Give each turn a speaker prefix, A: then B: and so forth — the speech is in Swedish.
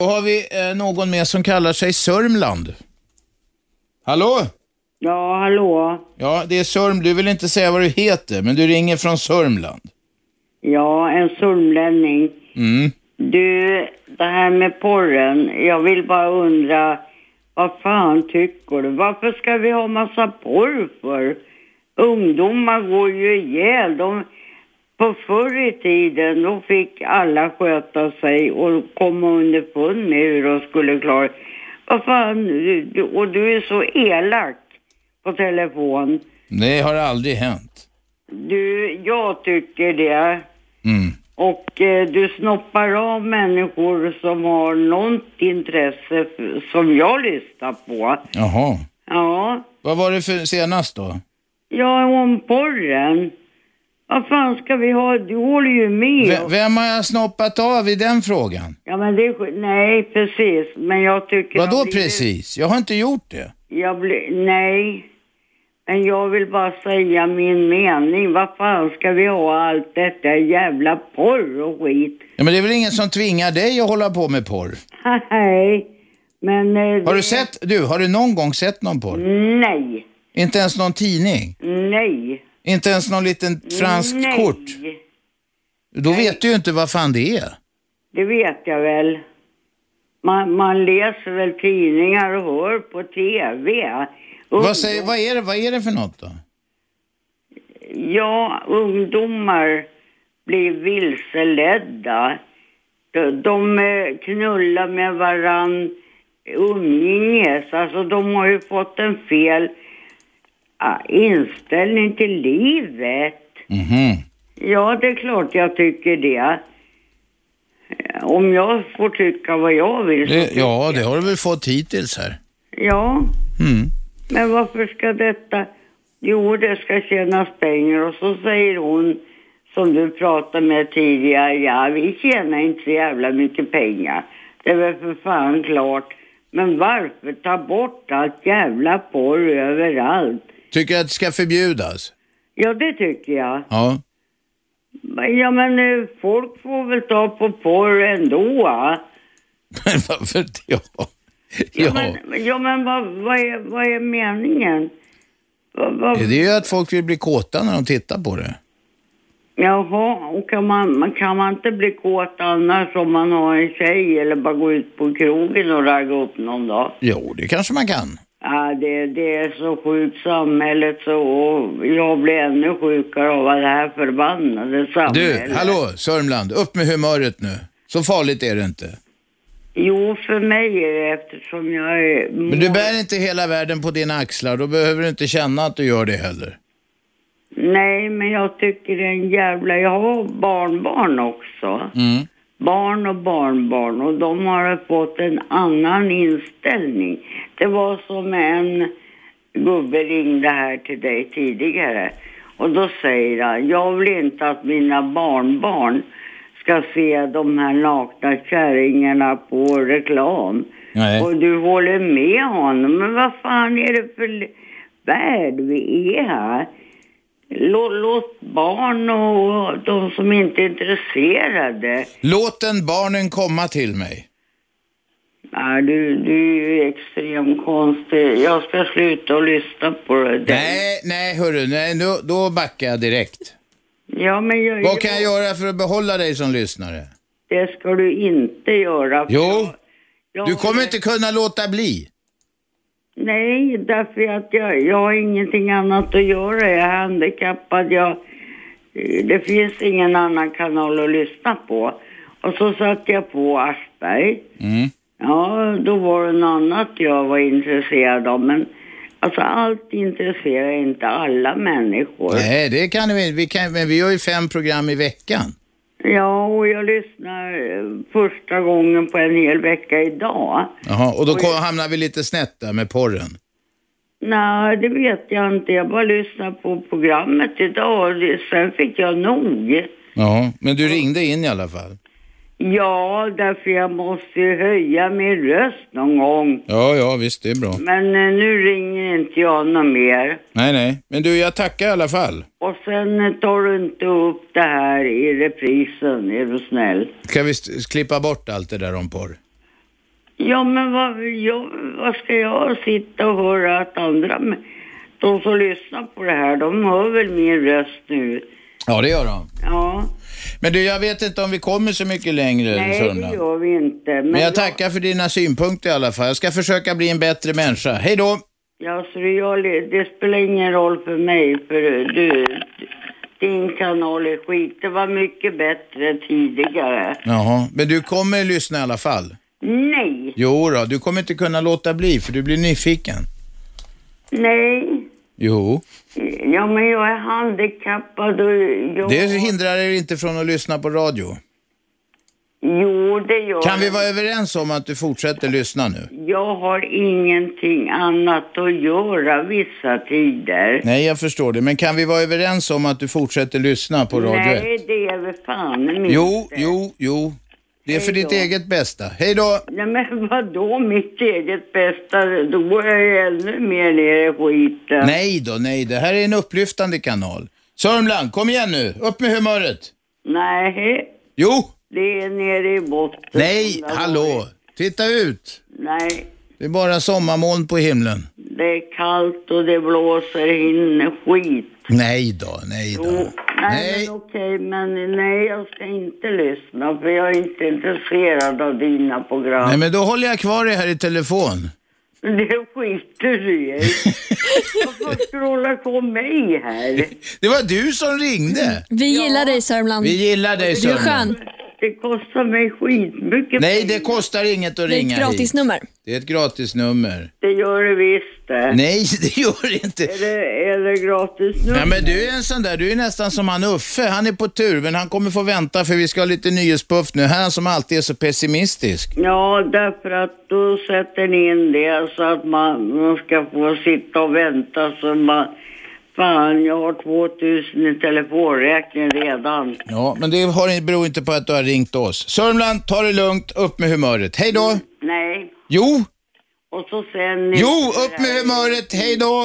A: Då har vi eh, någon med som kallar sig Sörmland. Hallå?
B: Ja, hallå.
A: Ja, det är Sörm. Du vill inte säga vad du heter, men du ringer från Sörmland.
B: Ja, en sörmlänning.
A: Mm.
B: Du, det här med porren. Jag vill bara undra, vad fan tycker du? Varför ska vi ha massa porr för? Ungdomar går ju ihjäl. De, på förr i tiden, då fick alla sköta sig och komma underfund med hur de skulle klara Vad fan, du, du- och du är så elak på telefon.
A: Det har aldrig hänt.
B: Du, jag tycker det.
A: Mm.
B: Och eh, du snoppar av människor som har något intresse f- som jag lyssnar på.
A: Jaha.
B: Ja,
A: Vad var det för senast då?
B: jag är om porren. Vad fan ska vi ha? Du håller ju med.
A: V- vem har jag snoppat av i den frågan?
B: Ja, men det är sk- Nej, precis. Men jag tycker...
A: Vadå
B: jag blir-
A: precis? Jag har inte gjort det.
B: Jag blir... Nej. Men jag vill bara säga min mening. Vad fan ska vi ha allt detta jävla porr och skit?
A: Ja, men det är väl ingen som tvingar dig att hålla på med porr?
B: Nej. Men... eh,
A: Har
B: det-
A: du sett, du, har du någon gång sett någon
B: Mm.
A: porr?
B: Nej.
A: Inte ens någon tidning?
B: Nej.
A: Inte ens någon liten fransk
B: Nej,
A: kort? Då vet du ju inte vad fan det är.
B: det vet jag väl. Man, man läser väl tidningar och hör på tv. Ungdom-
A: Vad, säger, vad, är det, vad är det för något då?
B: Ja, ungdomar blir vilseledda. De, de eh, knullar med varann umgänges. Alltså de har ju fått en fel ah, inställning till livet.
A: Mhm.
B: Ja, det är klart jag tycker det. Om jag får tycka vad jag vill. så-
A: Det, ja, det har du väl fått hittills här.
B: Ja,
A: Mm.
B: men varför ska detta... Jo, det ska tjänas pengar och så säger hon som du pratade med tidigare, ja vi tjänar inte så jävla mycket pengar. Det är väl för fan klart. Men varför ta bort allt jävla porr överallt?
A: Tycker jag att det ska förbjudas?
B: Ja, det tycker jag.
A: Ja.
B: Ja, men eh, folk får väl ta på porr ändå. va?
A: Men varför inte? Ja.
B: Ja,
A: ja.
B: men, ja, men vad, vad, är, vad är meningen? Vad, vad,
A: Det är ju att folk vill bli kåta när de tittar på det.
B: Jaha, och kan man, man- kan man inte bli kåt annars om man har en tjej eller bara gå ut på krogen och ragga upp någon dag?
A: Jo, det kanske man kan.
B: Ja, det, det är så sjukt samhället så och jag blir ännu sjukare av det här förbannade samhället.
A: Du, hallå Sörmland, upp med humöret nu. Så farligt är det inte.
B: Jo, för mig är det eftersom jag är...
A: Men du bär inte hela världen på dina axlar, då behöver du inte känna att du gör det heller.
B: Nej, men jag tycker det är en jävla... Jag har barnbarn också.
A: Mm.
B: barn och barnbarn och de har fått en annan inställning. Det var som en gubbe ringde här till dig tidigare och då säger han, jag vill inte att mina barnbarn ska se de här nakna kärringarna på reklam.
A: Nej.
B: Och du håller med honom, men vad fan är det för l- värld vi är här? Lå- Låt barn och de som inte är intresserade
A: Låt den barnen komma till mig.
B: Nej, du, du är ju extremt konstig. Jag ska sluta och lyssna på det.
A: Nej, nej hörru, nej, då, då backar jag direkt.
B: Ja, men jag,
A: Vad kan jag göra för att behålla dig som lyssnare?
B: det ska du inte göra.
A: Jo,
B: Jag-
A: du kommer inte kunna låta bli.
B: Nej, därför att jag, jag har ingenting annat att göra. Jag är handikappad. Jag, det finns ingen annan kanal att lyssna på. Och så satte jag på Aschberg.
A: Mm.
B: Ja, då var det något annat jag var intresserad av. Men alltså, allt intresserar inte alla människor.
A: Nej, det kan vi inte. Vi kan- Men vi gör ju fem program i veckan.
B: Ja, och jag lyssnar eh, första gången på en hel vecka idag.
A: Jaha, och då kom, hamnar vi lite snett där med porren.
B: Nej, det vet jag inte. Jag bara lyssnar på programmet idag och det- sen fick jag nog.
A: Ja, men du ringde in i alla fall.
B: Ja, därför jag måste ju höja min röst någon gång.
A: Ja, ja, visst, det är bra.
B: Men eh, nu ringer inte jag någon mer.
A: Nej, nej. Men du, jag tackar i alla fall.
B: Och sen eh, tar du inte upp det här i reprisen, är du snäll.
A: Ska vi st- klippa bort allt det där om porr?
B: Ja, men vad, jag, vad ska jag sitta och höra att andra, men de som lyssnar på det här, de hör väl min röst nu.
A: Ja, det gör de.
B: Ja,
A: Men du, jag vet inte om vi kommer så mycket längre,
B: nej
A: Sundra.
B: det gör vi inte. Men,
A: Men jag tackar för dina synpunkter i alla fall. Jag ska försöka bli en bättre människa. Hej då!
B: Ja, så det, jag, det spelar ingen roll för mig, för du, din kanal är skit. Det var mycket bättre tidigare.
A: Jaha, men du kommer lyssna i alla fall?
B: Nej,
A: Jo då, du kommer inte kunna låta bli för du blir nyfiken.
B: nej.
A: Jo,
B: Ja, men jag är handikappad och jag...
A: det hindrar er inte från att lyssna på radio.
B: Jo, det gör
A: Kan vi
B: jag.
A: vara överens om att du fortsätter lyssna nu?
B: Jag har ingenting annat att göra vissa tider.
A: Nej, jag förstår det, men kan vi vara överens om att du fortsätter lyssna på radio?
B: Nej, det är väl fan inte.
A: Jo, jo, jo. Det är för
B: Hej
A: ditt
B: då.
A: eget bästa. Hej då!
B: Nej, men vadå mitt eget bästa? Då går jag ju ännu mer ner i skiten.
A: Nej då, nej, det här är en upplyftande kanal. Sörmland, kom igen nu, upp med humöret!
B: Nej,
A: Jo!
B: det är nere i botten.
A: Nej,
B: Där var det.
A: hallå! Titta ut!
B: Nej,
A: Det är bara sommarmoln på himlen.
B: det är kallt och det blåser in skit.
A: Nej då, nej
B: Jo,
A: då.
B: nej,
A: Nej.
B: men okej, men nej, jag ska inte lyssna för jag är inte intresserad av dina program.
A: Nej, men då håller jag kvar dig här i telefon.
B: Det skiter du i. Varför ska du hålla på mig här?
A: Det var du som ringde.
C: Vi gillar dig Sörmland.
A: Vi gillar dig
C: Du är
A: Sörmland.
C: skön.
B: Det kostar mig skitmycket
A: Nej, det
B: pengar.
A: kostar inget att
C: Det är
A: ringa
C: ett
A: hit.
C: gratisnummer.
A: Det är ett gratisnummer.
B: Det gör det visst det.
A: Nej, det gör det inte.
B: Är det, är det gratis nu?
A: Nej, men du är en sån där, du är nästan som han Uffe. Han är på tur, men han kommer få vänta för vi ska ha lite nyhetspuff nu. Han som alltid är så pessimistisk.
B: Ja, därför att då sätter ni in det så att man, man ska få sitta och vänta så man... Fan, jag har 2000 i telefonräkning redan.
A: Ja, men det har, beror inte på att du har ringt oss. Sörmland, ta det lugnt, upp med humöret. Hej då!
B: Nej,
A: Jo,
B: och så sen...
A: jo, upp med humöret, hej då!